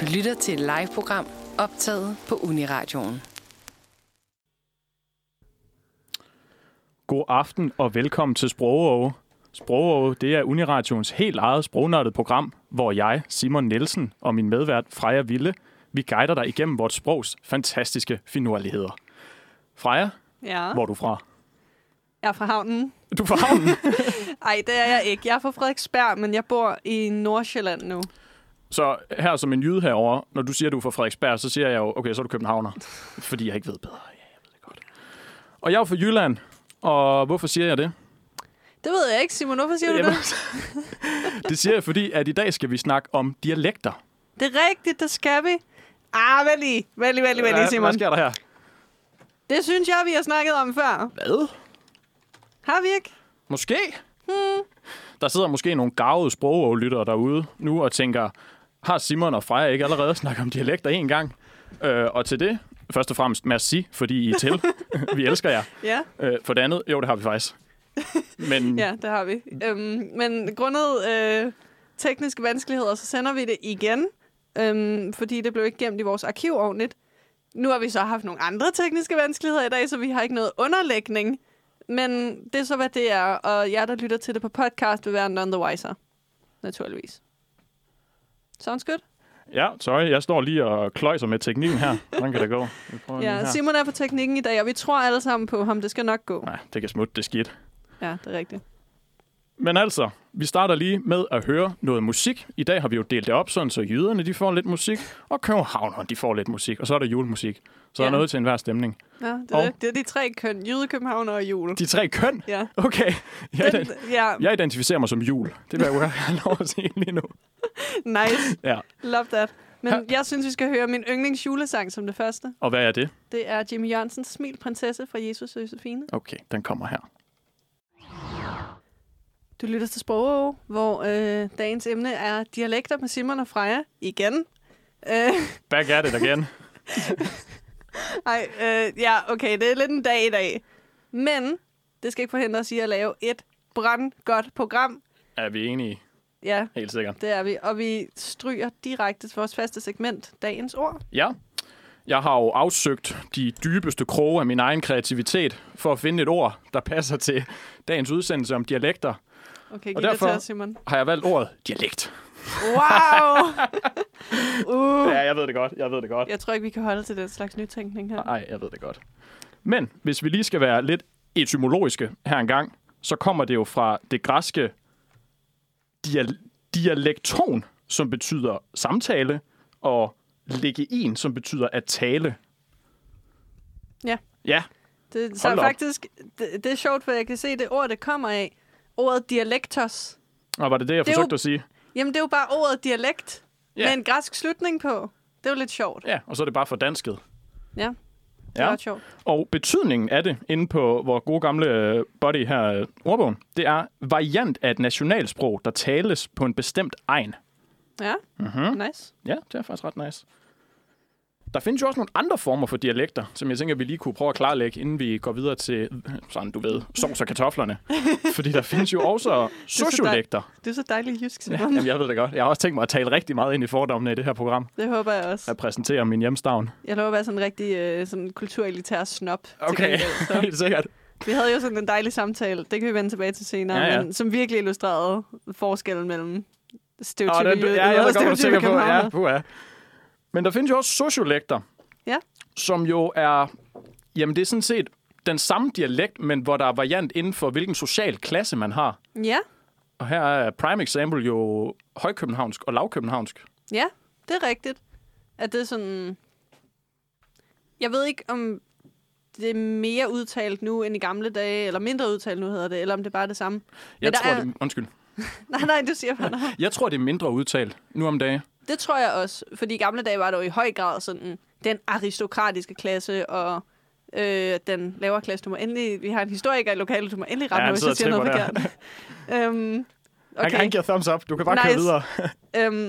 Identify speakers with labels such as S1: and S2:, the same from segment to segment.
S1: Du lytter til et live-program optaget på Uniradioen.
S2: God aften og velkommen til Sprogåge. Sprogåge, det er Uniradioens helt eget sprognørdet program, hvor jeg, Simon Nielsen og min medvært Freja Ville, vi guider dig igennem vores sprogs fantastiske finurligheder. Freja,
S3: Ja,
S2: hvor er du fra?
S3: jeg er fra havnen.
S2: Du er fra havnen.
S3: Nej, det er jeg ikke. Jeg er fra Frederiksberg, men jeg bor i Nordsjælland nu.
S2: Så her som en jyde herover, når du siger, at du er fra Frederiksberg, så siger jeg jo, okay, så er du københavner. Fordi jeg ikke ved bedre. Ja, jeg ved det godt. Og jeg er jo fra Jylland, og hvorfor siger jeg det?
S3: Det ved jeg ikke, Simon. Hvorfor siger du det?
S2: det? det siger jeg, fordi at i dag skal vi snakke om dialekter.
S3: Det er rigtigt, det skal vi. Ah, vent lige. Vent lige, vent lige, vent lige, Simon.
S2: Hvad sker der her?
S3: Det synes jeg, vi har snakket om før.
S2: Hvad?
S3: Har vi ikke?
S2: Måske. Hmm. Der sidder måske nogle gavede sprogoverlyttere derude nu og tænker, har Simon og Freja ikke allerede snakket om dialekter en gang? Øh, og til det, først og fremmest, merci, fordi I er til. vi elsker jer.
S3: Ja,
S2: Øh, for det andet, jo, det har vi faktisk. Men ja.
S3: ja det har vi.
S2: Mm.
S3: Øhm, men grundet øh, tekniske vanskeligheder, så sender vi det igen. Øhm, fordi det blev ikke gemt i vores arkiv ordentligt. Nu har vi så haft nogle andre tekniske vanskeligheder i dag, så vi har ikke noget underlægning. Men det er så, hvad det er, og jer, der lytter til det på podcast, vil være none the wiser. Naturligvis. Sounds good?
S2: ja, sorry, jeg står lige og kløjser med teknikken her. Hvordan kan det gå? Jeg prøver lige
S3: Ja,
S2: her.
S3: Simon er på teknikken i dag, og vi tror alle sammen på ham. Det skal nok gå.
S2: Nej, det kan smutte, det er skidt.
S3: Ja, det er rigtigt.
S2: Men altså, vi starter lige med at høre noget musik. I dag har vi jo delt det op, sådan så jyderne de får lidt musik, og københavnerne de får lidt musik, og så er der julemusik. Så ja.
S3: Ja.
S2: der er noget til enhver stemning.
S3: Ja, det,
S2: Og-
S3: er, det. det er de tre køn. Jyde, københavner og jule.
S2: De tre køn?
S3: Ja.
S2: Okay, jeg,
S3: Den,
S2: ident-
S3: ja,
S2: jeg identificerer mig som jul. Det vil jeg jo have lov at sige lige nu.
S3: nice.
S2: Ja.
S3: Love that. Men
S2: Ja.
S3: jeg synes, vi skal høre min yndlingsjulesang som det første.
S2: Og hvad er det?
S3: Det er Jimmy Jørgensens Smil Prinsesse fra Jesus og Josefine.
S2: Okay, den kommer her.
S3: Du lytter til Sprogå, hvor øh, dagens emne er dialekter med Simon og Freja. Igen. Øh,
S2: Back at it again.
S3: ej, øh, ja, okay, det er lidt en dag i dag. Men det skal ikke forhindre os i at lave et brandgodt program.
S2: er vi enige?
S3: Ja,
S2: Helt sikkert.
S3: det er vi. Og vi stryger direkte til vores faste segment, dagens ord.
S2: Ja. Jeg har jo afsøgt de dybeste kroge af min egen kreativitet for at finde et ord, der passer til dagens udsendelse om dialekter.
S3: Okay, giv
S2: Og
S3: det til
S2: derfor-
S3: os, Simon.
S2: Har jeg valgt ordet dialekt?
S3: Wow! uh.
S2: Ja, jeg ved det godt. Jeg ved det godt.
S3: Jeg tror ikke, vi kan holde til den slags nytænkning her.
S2: Nej, jeg ved det godt. Men hvis vi lige skal være lidt etymologiske her engang, så kommer det jo fra det græske dial- dialekton, som betyder samtale, og legein, som betyder at tale.
S3: Ja.
S2: Ja,
S3: Det, så
S2: Hold da op.
S3: faktisk, det, det er sjovt, for jeg kan se det ord, det kommer af. Ordet dialektos.
S2: og var det det, jeg
S3: Det er
S2: forsøgte
S3: jo-
S2: at sige?
S3: Jamen, det er jo bare ordet dialekt
S2: Ja.
S3: yeah. med en græsk slutning på. Det er jo lidt sjovt.
S2: Ja, og så er det bare for dansket.
S3: Ja, det er
S2: Ja.
S3: ret sjovt.
S2: Og betydningen af det, inde på vores gode gamle øh, buddy her, øh, ordbogen, det er variant af et nationalsprog, der tales på en bestemt egen.
S3: Ja,
S2: Mhm.
S3: mm-hmm. nice.
S2: Ja, det er faktisk ret nice. Der findes jo også nogle andre former for dialekter, som jeg tænker, vi lige kunne prøve at klarlægge, inden vi går videre til, sådan du ved, sovs og kartoflerne. Fordi der findes jo også sociolekter.
S3: Det er så dejligt jysk,
S2: Ja,
S3: Simon.
S2: jamen, jeg ved det godt. Jeg har også tænkt mig at tale rigtig meget ind i fordommene i det her program.
S3: Det håber jeg også.
S2: Jeg præsenterer min hjemstavn.
S3: Jeg lover at være sådan en rigtig øh, sådan kulturelitær snop. til
S2: Okay,
S3: gengæld, så.
S2: helt sikkert.
S3: Vi havde jo sådan en dejlig samtale, det kan vi vende tilbage til senere,
S2: Ja,
S3: ja,
S2: ja.
S3: ja. Men, som virkelig illustrerede forskellen mellem
S2: Åh,
S3: stereotype
S2: den,
S3: jøder
S2: ja, jeg ved godt, hvad du tænker på. Ja,
S3: københavnere.
S2: puha. Men der findes jo også sociolekter,
S3: Ja.
S2: som jo er... Jamen, det er sådan set den samme dialekt, men hvor der er variant inden for, hvilken social klasse man har.
S3: ja,
S2: Og her er prime example jo højkøbenhavnsk og lavkøbenhavnsk.
S3: ja, det er rigtigt. At det er sådan... Jeg ved ikke, om det er mere udtalt nu end i gamle dage, eller mindre udtalt nu hedder det, eller om det bare er det samme.
S2: Jeg
S3: der
S2: tror,
S3: er-
S2: det, undskyld.
S3: Nej, nej, du siger bare nej.
S2: Jeg tror, det er mindre udtalt nu om dagen.
S3: Det tror jeg også, fordi i gamle dage var det jo i høj grad sådan den aristokratiske klasse, og øh, den lavere klasse, du må endelig... Vi har en historiker i lokalet, du må endelig
S2: Ja,
S3: rette ja,
S2: han
S3: mig, hvis
S2: sidder
S3: jeg siger
S2: og
S3: noget
S2: tripper
S3: forkert. øhm, okay.
S2: giver thumbs up. Du kan
S3: bare køre Nice. videre.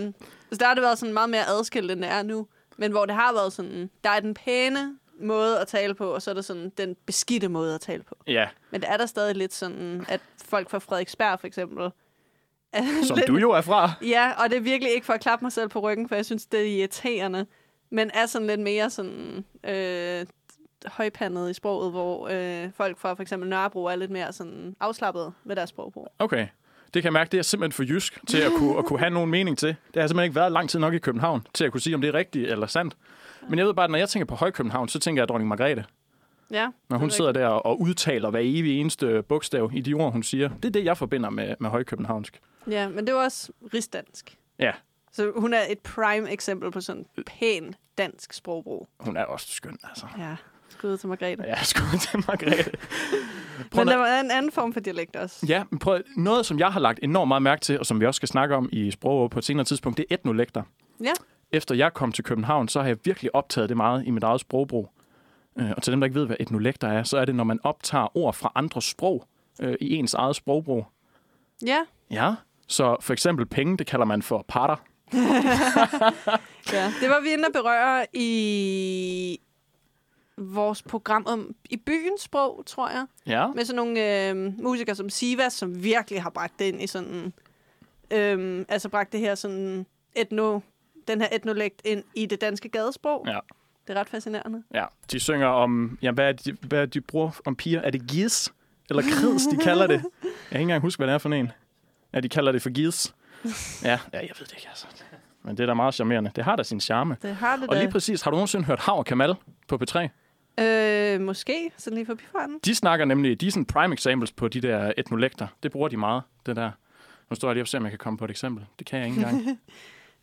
S3: Øhm, så der har det været sådan meget mere adskilt, end det er nu. Men hvor det har været sådan, der er den pæne måde at tale på, og så er der sådan den beskidte måde at tale på.
S2: Ja,
S3: Men det er der stadig lidt sådan, at folk fra Frederiksberg for eksempel
S2: som du jo er fra.
S3: Ja, og det er virkelig ikke for at klappe mig selv på ryggen, for jeg synes, det er irriterende. Men er sådan lidt mere sådan øh, højpandet i sproget, hvor øh, folk fra for eksempel Nørrebro er lidt mere sådan afslappet ved deres sprogbrug.
S2: Okay. Det kan jeg mærke, det er simpelthen for jysk til at kunne, at kunne have nogen mening til. Det har simpelthen ikke været lang tid nok i København til at kunne sige, om det er rigtigt eller sandt. Men jeg ved bare, at når jeg tænker på Højkøbenhavn, så tænker jeg dronning Margrethe.
S3: Ja,
S2: Når hun sidder der og udtaler hver evig eneste bogstav i de ord, hun siger. Det er det, jeg forbinder med, med højkøbenhavnsk.
S3: Ja, men det var også rigsdansk.
S2: Ja,
S3: Så hun er et prime eksempel på sådan
S2: Øh.
S3: pæn dansk sprogbrug.
S2: hun er også skøn, altså.
S3: Ja, skud til Margrethe.
S2: Ja, skud til Margrethe.
S3: Men der var en anden form for dialekt også.
S2: Ja, men prøv, at- noget, som jeg har lagt enormt meget mærke til, og som vi også skal snakke om i sprog på et senere tidspunkt, det er etnolekter.
S3: Ja,
S2: Efter jeg kom til København, så har jeg virkelig optaget det meget i mit eget sprogbrug. Øh, Og til dem, der ikke ved, hvad etnolekter er, så er det, når man optager ord fra andre sprog øh, i ens eget sprogbrug.
S3: ja,
S2: Ja. Så for eksempel penge, det kalder man for parter.
S3: ja. Det var vi inde at berøre i vores program om i byens sprog, tror jeg.
S2: Ja.
S3: Med sådan nogle øh, musikere som Sivas, som virkelig har bragt det ind i sådan... Øh, altså bragt det her sådan etno, den her etnolægt ind i det danske gadesprog.
S2: Ja.
S3: Det er ret fascinerende.
S2: Ja, de synger om, ja, hvad, er det, de- hvad er det, de bruger om piger? Er det gis? Eller krids, de kalder det? Jeg kan ikke engang huske, hvad det er for en. Ja, de kalder det for gis. Ja, ja jeg ved det ikke, altså. Men det er da meget charmerende. Det har da sin charme.
S3: Det har det
S2: Og
S3: da.
S2: lige præcis, har du nogensinde hørt Hav og Kamal på P3?
S3: Øh, måske. Sådan lige forbi farten.
S2: De snakker nemlig, de er sådan prime examples på de der etnolekter. Det bruger de meget, det der. Nu står jeg lige og ser, om jeg kan komme på et eksempel. Det kan jeg ikke engang.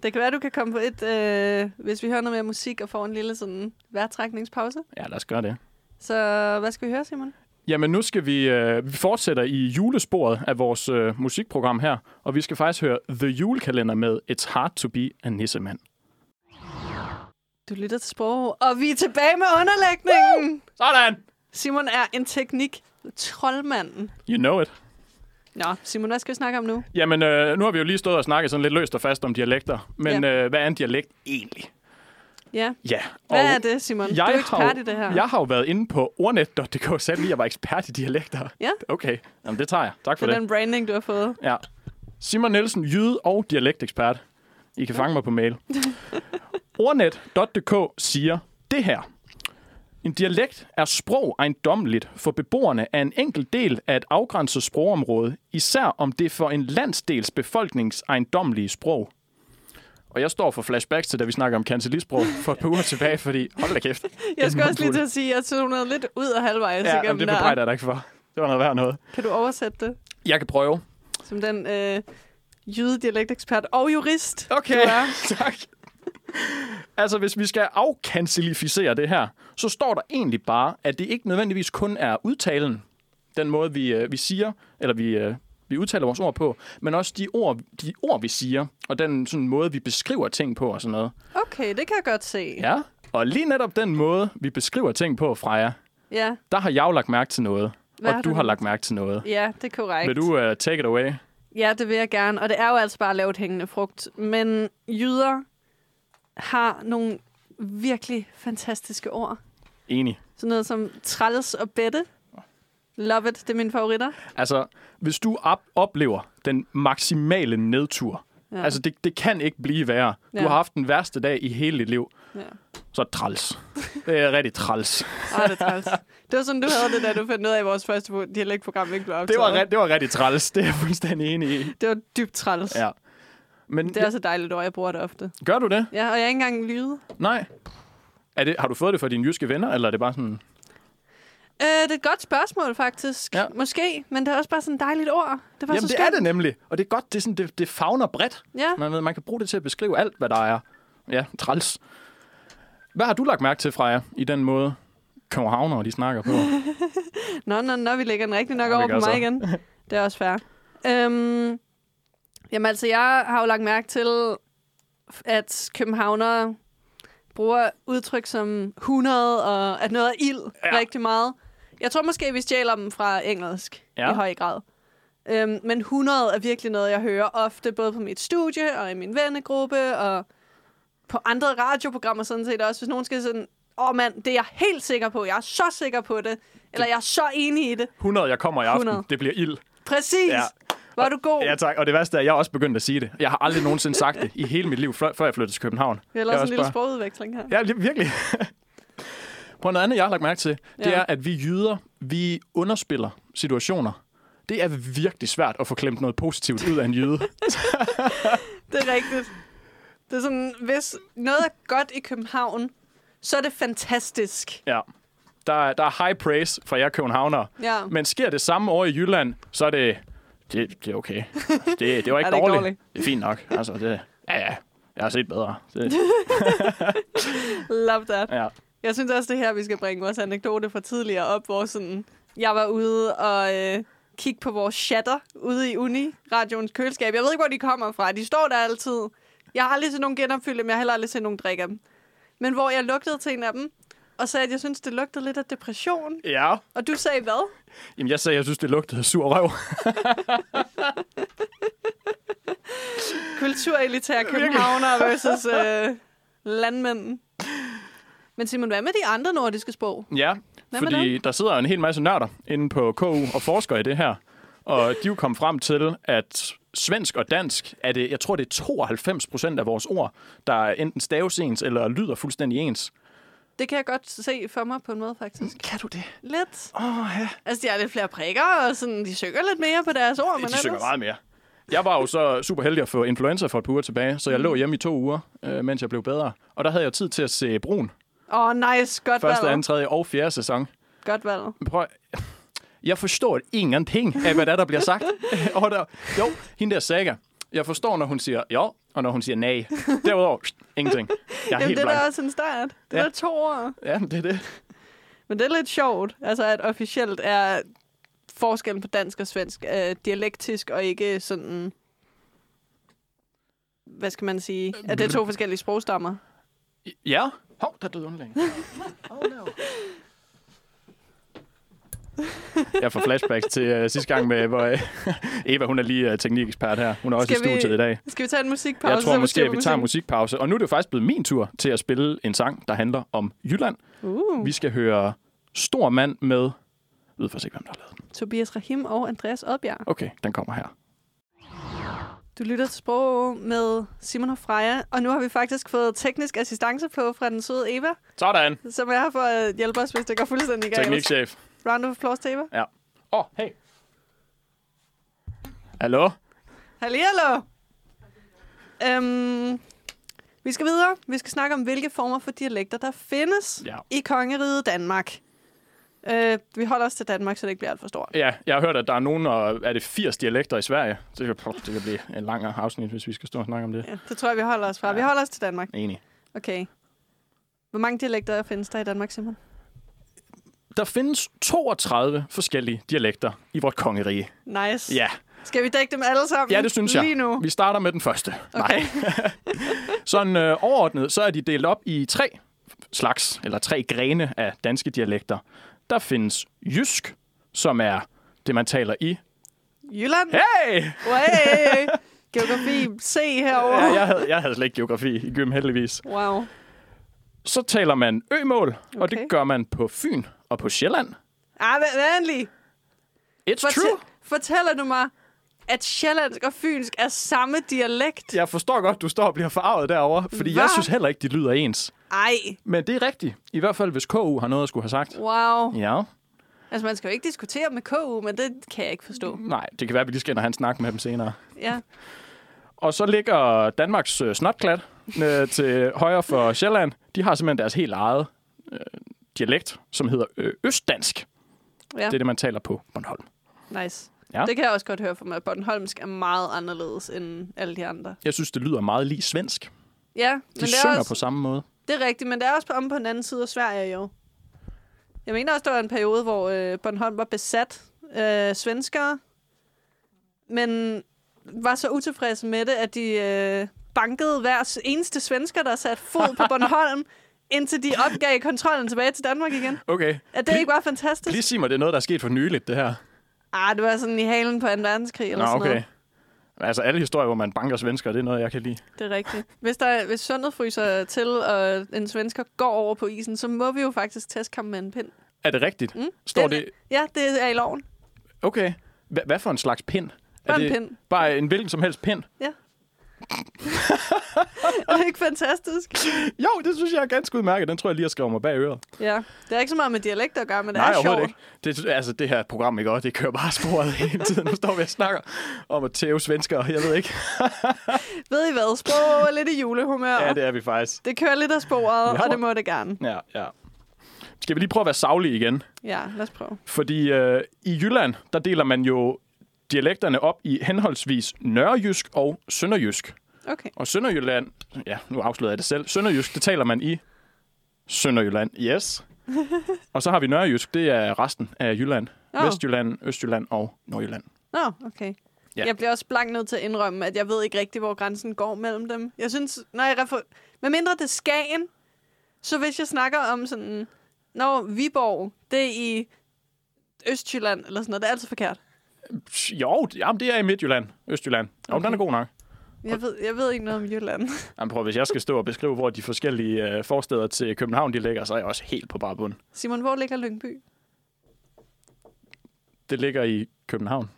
S3: Det kan være, du kan komme på et, øh, hvis vi hører noget mere musik og får en lille sådan vejrtrækningspause.
S2: Ja, lad os gøre det.
S3: Så hvad skal vi høre, Simon?
S2: Jamen, nu skal vi, øh, vi fortsætter i julesporet af vores øh, musikprogram her, og vi skal faktisk høre The Julekalender med It's Hard to Be a Nissemand.
S3: Du lytter til sprog, og vi er tilbage med underlægningen. Woo!
S2: Sådan!
S3: Simon er en teknik troldmanden.
S2: You know it.
S3: Nå, Simon, hvad skal vi snakke om nu?
S2: Jamen, øh, nu har vi jo lige stået og snakket sådan lidt løst og fast om dialekter, men øh, hvad er en dialekt egentlig?
S3: Ja.
S2: Ja.
S3: Hvad
S2: og
S3: er det, Simon?
S2: Jeg
S3: du er jo
S2: har,
S3: ekspert
S2: jo-
S3: i det her.
S2: Jeg har jo været inde på ordnet.dk selv, lige jeg var ekspert i dialekter.
S3: Ja.
S2: Okay, Jamen, det tager jeg. Tak for
S3: For
S2: det.
S3: den branding, du har fået.
S2: Ja. Simon Nielsen, jyde og dialektekspert. I kan fange mig på mail. Ordnet.dk siger det her. En dialekt er sprog ejendommeligt for beboerne af en enkelt del af et afgrænset sprogområde, især om det er for en landsdels befolknings ejendommelige sprog. Og jeg står for flashbacks til, da vi snakker om kancelisprog for et par uger tilbage, fordi hold da kæft.
S3: Jeg skal også lige til at sige, at jeg tog noget lidt ud af halvvejs
S2: Ja, jamen,
S3: igennem
S2: det
S3: der.
S2: bebrejder jeg dig ikke for. Det var noget værd noget.
S3: Kan du oversætte det?
S2: Jeg kan prøve.
S3: Som den øh, jydedialektekspert og jurist.
S2: Okay, tak. Altså, hvis vi skal afkancelificere det her, så står der egentlig bare, at det ikke nødvendigvis kun er udtalen, den måde, vi, øh, vi siger, eller vi, øh, vi udtaler vores ord på, men også de ord, de ord vi siger, og den sådan, måde, vi beskriver ting på og sådan noget.
S3: Okay, det kan jeg godt se.
S2: Ja, og lige netop den måde, vi beskriver ting på, Freja,
S3: ja.
S2: der har jeg jo lagt mærke til noget,
S3: Hvad
S2: og
S3: har
S2: du
S3: du
S2: har
S3: lagt-
S2: lagt mærke til noget.
S3: Ja, det er korrekt.
S2: Vil du uh, take it away?
S3: Ja, det vil jeg gerne. Og det er jo altså bare lavt hængende frugt. Men jyder har nogle virkelig fantastiske ord.
S2: Enig.
S3: Sådan noget som træls og bette. Love it, det er mine favoritter.
S2: Altså, hvis du op- oplever den maksimale nedtur, ja.
S3: Ja.
S2: altså det, det kan ikke blive værre. Du
S3: Ja.
S2: har haft den værste dag i hele dit liv,
S3: Ja.
S2: så træls. Det er rigtig træls.
S3: Ej, det er træls. Det var sådan, du havde det, da du fandt ud af i vores første dialektprogram, ikke blev
S2: Det
S3: optaget.
S2: var, re- det var rigtig træls, det er jeg fuldstændig enig i.
S3: det var dybt træls.
S2: Ja. Men
S3: Det er også et dejligt ord, jeg bruger det ofte.
S2: gør du det?
S3: Ja, og jeg er ikke engang lyde.
S2: Nej. Er det, har du fået det fra dine jyske venner, eller er det bare sådan...
S3: Øh, det er et godt spørgsmål, faktisk.
S2: Ja.
S3: Ja. Måske, men det er også bare sådan et dejligt ord. Det var
S2: Jamen,
S3: så
S2: det
S3: skønt.
S2: er det nemlig. Og det er godt, det, er sådan, det, det fagner bredt.
S3: Ja.
S2: Man, ved, man kan bruge det til at beskrive alt, hvad der er. Ja, træls. Hvad har du lagt mærke til, Freja, i den måde, københavnere, de snakker på?
S3: Nå, nå, nå, vi lægger den rigtig nok
S2: Ja, vi
S3: over
S2: gør
S3: på mig
S2: så.
S3: igen. Det er også fair. Øhm, jamen altså, jeg har jo lagt mærke til, at københavnere bruger udtryk som 100 og at noget er ild
S2: Ja.
S3: ja. rigtig meget. Jeg tror måske, vi stjæler dem fra engelsk
S2: Ja.
S3: ja. i høj grad. Øhm, men 100 er virkelig noget, jeg hører ofte, både på mit studie og i min vennegruppe og på andre radioprogrammer sådan set også. Hvis nogen skal sådan, åh oh, mand, det er jeg helt sikker på, jeg er så sikker på det, eller jeg er så enig i det.
S2: 100, jeg kommer i aften.
S3: 100.
S2: Det bliver ild.
S3: Præcis.
S2: Ja.
S3: Ja. Var du god?
S2: Ja, tak. Og det værste er, at jeg er også begyndt at sige det. Jeg har aldrig nogensinde sagt det i hele mit liv, før før jeg flyttede til København.
S3: Vi har
S2: Jeg
S3: lavet
S2: er
S3: sådan en
S2: også
S3: lille
S2: bare-
S3: sprogudveksling her.
S2: Ja, lige- virkelig. Prøv noget andet, jeg har lagt mærke til. Det
S3: Ja.
S2: er, at vi jyder, vi underspiller situationer. Det er virkelig svært at få klemt noget positivt ud af en jyde.
S3: Det er rigtigt. Det er sådan, hvis noget er godt i København, så er det fantastisk.
S2: Ja. Der, er- der er high praise fra jer københavnere.
S3: Ja.
S2: Men sker det samme år i Jylland, så er det... Det, det er okay. Det, det var ikke,
S3: Er det ikke
S2: dårligt.
S3: dårligt?
S2: Det er fint nok. Altså, det, ja, ja. Jeg har set bedre. Det,
S3: Love that.
S2: ja.
S3: Jeg synes også, det er her, vi skal bringe vores anekdote fra tidligere op, hvor sådan, jeg var ude og øh, kigge på vores chatter ude i Uni, radioens køleskab. Jeg ved ikke, hvor de kommer fra. De står der altid. Jeg har aldrig set nogen genopfylde dem. Jeg har heller aldrig set nogen drikke dem. Men hvor jeg lugtede til en af dem, og sagde, at jeg synes, det lugtede lidt af depression.
S2: ja.
S3: Og du sagde hvad?
S2: Jamen, jeg sagde, jeg synes, det lugtede af sur røv.
S3: Kulturelitære københavnere versus øh, landmænd. Men Simon, hvad med de andre nordiske sprog?
S2: Ja,
S3: Hvad med
S2: fordi der sidder jo en hel masse nørder inde på KU og forsker i det her. Og de er jo kommet frem til, at svensk og dansk er det, jeg tror det er 92 procent af vores ord, der enten staves ens eller lyder fuldstændig ens.
S3: Det kan jeg godt se for mig på en måde, faktisk.
S2: Kan du det?
S3: Lidt.
S2: Åh, oh, ja.
S3: Altså, de har lidt flere prikker, og sådan, de synger lidt mere på deres ord. men
S2: De synger
S3: ellers-
S2: meget mere. Jeg var jo så super heldig at få influenza for et par uger tilbage, så jeg lå hjemme i to uger, øh, mens jeg blev bedre. Og der havde jeg tid til at se Brun,
S3: Åh, oh, nice. Godt
S2: første,
S3: valg.
S2: anden, tredje og fjerde sæson.
S3: Godt valg.
S2: Men prøv, at- jeg forstår ingenting af, hvad der, er, der bliver sagt. og der, jo, hende der Saga, jeg forstår, når hun siger ja, og når hun siger nej. Derudover, pst, ingenting. Jeg er
S3: Jamen,
S2: helt
S3: det er
S2: blank.
S3: da også en start. Det er
S2: Ja.
S3: ja. to år.
S2: Ja, men det er det.
S3: Men det er lidt sjovt, altså, at officielt er forskellen på dansk og svensk øh, dialektisk, og ikke sådan... Hvad skal man sige? At det er to forskellige sprogstammer.
S2: Ja. Hov, der døde underlægen. Oh, no. Jeg får flashbacks til uh, sidste gang med, hvor uh, Eva, hun er lige uh, teknikekspert her. Hun er også
S3: Skal
S2: i
S3: vi-
S2: studiet i dag.
S3: Skal vi tage en musikpause?
S2: Jeg tror
S3: så
S2: måske,
S3: styr
S2: at
S3: på
S2: vi tager en musikpause. Og nu er det jo faktisk blevet min tur til at spille en sang, der handler om Jylland.
S3: Uh,
S2: Vi skal høre Stor Mand med... Jeg ved faktisk ikke, hvem der har lavet den.
S3: Tobias Rahim og Andreas Odbjerg.
S2: Okay, den kommer her.
S3: Du lytter til sprog med Simon og Freja, og nu har vi faktisk fået teknisk assistance på fra den søde Eva,
S2: Sådan.
S3: som er her for at hjælpe os, hvis det går fuldstændig galt.
S2: Teknikchef.
S3: Round of applause til Eva.
S2: Ja. Åh, oh, hey. Hallo?
S3: Hallihallo! Øhm, vi skal videre. Vi skal snakke om, hvilke former for dialekter, der findes
S2: Ja.
S3: i kongeriget Danmark. Øh, vi holder os til Danmark, så det ikke bliver alt for stort.
S2: Ja, jeg har hørt, at der er nogen, og er det 80 dialekter i Sverige? Det kan, pff, det kan blive en lang afsnit, hvis vi skal stå og snakke om det.
S3: Ja, det tror jeg, vi holder os fra. Ja. Vi
S2: Ja.
S3: holder os til Danmark.
S2: Enig.
S3: Okay. Hvor mange dialekter findes der i Danmark, Simon?
S2: Der findes 32 forskellige dialekter i vort kongerige.
S3: Nice.
S2: Ja,
S3: Skal vi dække dem alle sammen?
S2: ja det synes jeg.
S3: Lige nu.
S2: Vi starter med den første.
S3: Okay.
S2: Nej. Sådan øh, overordnet, så er de delt op i tre slags, eller tre grene af danske dialekter. Der findes jysk, som er det, man taler i.
S3: Jylland.
S2: Hey!
S3: Hey! Geografi C herovre.
S2: Ja, jeg, havde, jeg havde slet ikke geografi i gym, heldigvis.
S3: Wow.
S2: Så taler man ømål, og
S3: Okay.
S2: det gør man på Fyn og på Sjælland.
S3: Ah, vent- vent lige.
S2: It's
S3: Fortæl,
S2: true.
S3: fortæller du mig, at sjællandsk og fynsk er samme dialekt?
S2: Jeg forstår godt, du står og bliver forarvet derovre, fordi
S3: Hva?
S2: jeg synes heller ikke, de lyder ens.
S3: Ej,
S2: Men det er rigtigt. I hvert fald, hvis KU har noget at skulle have sagt.
S3: wow.
S2: Ja.
S3: Altså, man skal jo ikke diskutere med KU, men det kan jeg ikke forstå.
S2: Nej, det kan være, at vi lige skal ind og have en snak med dem senere.
S3: Ja.
S2: Og så ligger Danmarks øh, snotklat øh, til højre for Sjælland. De har simpelthen deres helt eget øh, dialekt, som hedder øh, østdansk.
S3: Ja.
S2: Det er det, man taler på Bornholm.
S3: Nice.
S2: Ja.
S3: Ja. Det kan jeg også godt høre fra mig. Bornholmsk er meget anderledes end alle de andre.
S2: Jeg synes, det lyder meget lige svensk. De
S3: Ja, men det er,
S2: synger
S3: også,
S2: på samme måde.
S3: det er rigtigt, men det er også på, om på den anden side af Sverige jo. Jeg mener også, der var en periode, hvor øh, Bornholm var besat af øh, svenskere, men var så utilfredse med det, at de øh, bankede hver s- eneste svensker, der satte fod på Bornholm, indtil de opgav kontrollen tilbage til Danmark igen.
S2: Okay.
S3: Er det ikke bare fantastisk?
S2: Lige sig mig, det er noget, der er sket for nyligt, det her.
S3: Ah, det var sådan i halen på 2. verdenskrig eller
S2: Nå,
S3: sådan
S2: okay.
S3: noget.
S2: Altså, alle historier, hvor man banker svensker, det er noget, jeg kan lide.
S3: Det er rigtigt. Hvis, der, er- hvis sundet fryser til, og en svensker går over på isen, så må vi jo faktisk teste kampen med en pind.
S2: Er det rigtigt? Står
S3: Den-
S2: det...
S3: Ja, Mm, det er i loven.
S2: Okay. Hva- Hvad for en slags pind? Er
S3: Bare en
S2: det
S3: pind.
S2: Bare en hvilken som helst pind.
S3: Ja. er det ikke fantastisk?
S2: Jo, det synes jeg er ganske udmærket. Den tror jeg lige, jeg skriver mig bag øret.
S3: Ja. Det har ikke så meget med dialekt at gøre, men det
S2: Nej,
S3: er sjovt.
S2: overhovedet ikke. Det, altså, det her program, ikke også? Det kører bare af sporet hele tiden. Nu står vi og snakker om at tæve svenskere, jeg ved ikke.
S3: Ved I hvad? Sprog er lidt i julehumør.
S2: Ja, det er vi faktisk.
S3: det kører lidt af sporet,
S2: Ja.
S3: og det må det gerne.
S2: Ja, ja. Skal vi lige prøve at være savlige igen?
S3: Ja, lad os prøve.
S2: Fordi øh, i Jylland, der deler man jo dialekterne op i henholdsvis nørrejysk og sønderjysk.
S3: Okay.
S2: Og Sønderjylland, ja, nu afslører jeg det selv. Sønderjysk, det taler man i Sønderjylland, yes. og så har vi Nørrejysk, det er resten af Jylland.
S3: Nå.
S2: Vestjylland, Østjylland og Nordjylland.
S3: Nå, okay.
S2: Ja.
S3: Ja. Jeg bliver også blank nødt til at indrømme, at jeg ved ikke rigtig, hvor grænsen går mellem dem. Jeg synes, når jeg refer... Med mindre det er Skagen, så hvis jeg snakker om sådan... Når Viborg, det er i Østjylland, eller sådan noget, det er altid forkert.
S2: Psh, Jo, det- jamen, det er i Midtjylland, Østjylland. Jo, okay. den er god nok.
S3: Jeg ved, jeg ved ikke noget om Jylland.
S2: Jamen, prøv, hvis jeg skal stå og beskrive, hvor de forskellige øh, forsteder til København de ligger, så er jeg også helt på bare bund.
S3: Simon, hvor ligger Lyngby?
S2: Det ligger i København.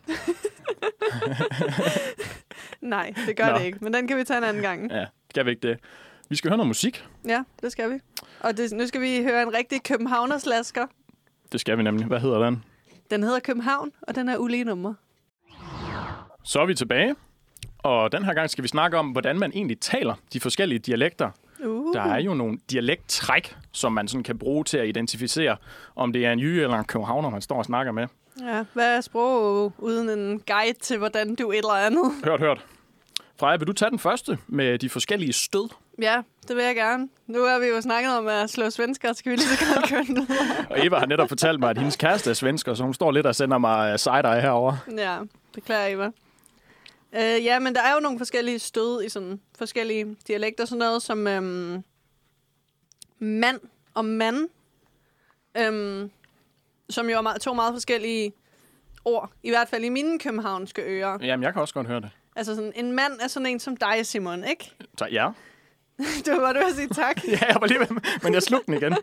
S3: Nej, det gør
S2: Nå.
S3: Nå. det ikke, men den kan vi tage en anden gang.
S2: Ja, skal vi ikke det? Vi skal høre noget musik.
S3: Ja, det skal vi. Og det, nu skal vi høre en rigtig københavnerslasker.
S2: Det skal vi nemlig. Hvad hedder den?
S3: Den hedder København, og den er ulige nummer.
S2: Så er vi tilbage. Og den her gang skal vi snakke om, hvordan man egentlig taler de forskellige dialekter
S3: Uh.
S2: Der er jo nogle dialekttræk, som man sådan kan bruge til at identificere, om det er en jyde eller en københavner, man står og snakker med.
S3: Ja, hvad er sprog uden en guide til, hvordan du et eller andet?
S2: Hørt, hørt. Freja, vil du tage den første med de forskellige stød?
S3: Ja, det vil jeg gerne. Nu har vi jo snakket om at slå svensker, skal vi lige så godt køre den videre?
S2: Og Eva har netop fortalt mig, at hendes kæreste er svensker, så hun står lidt og sender mig øh, side-eye herovre.
S3: Ja, beklager Eva. Øh, ja, men der er jo nogle forskellige stød i sådan forskellige dialekter, sådan noget som øhm, mand og mand, øhm, som jo er meget, to meget forskellige ord, i hvert fald i mine københavnske ører.
S2: Jamen, jeg kan også godt høre det.
S3: Altså sådan, en mand er sådan en som dig, Simon, ikke?
S2: Så ja.
S3: Du var bare ved at sige tak.
S2: Ja, jeg var lige ved, men jeg slugte den igen.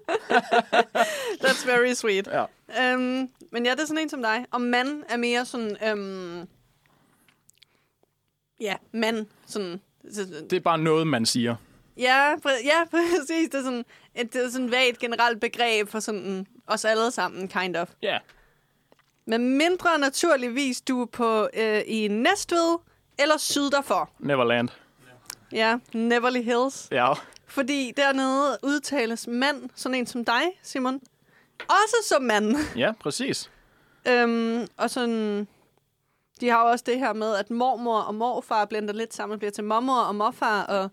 S3: That's very sweet.
S2: Ja.
S3: Øhm, men ja, det er sådan en som dig. Og mand er mere sådan... Øhm, ja, mand. Sådan, så-
S2: Det er bare noget, man siger.
S3: ja, præ- ja, præcis. Det er sådan et, det er sådan et vagt generelt begreb for sådan os alle sammen, kind of.
S2: Ja.
S3: Men mindre naturligvis, du er på øh, i Næstved eller syd derfor.
S2: Neverland.
S3: Ja, Neverly Hills.
S2: Ja.
S3: Fordi dernede udtales mand, sådan en som dig, Simon. Også som mand.
S2: Ja, præcis.
S3: Øhm, og sådan... De har jo også det her med, at mormor og morfar blander lidt sammen, bliver til mormor og morfar og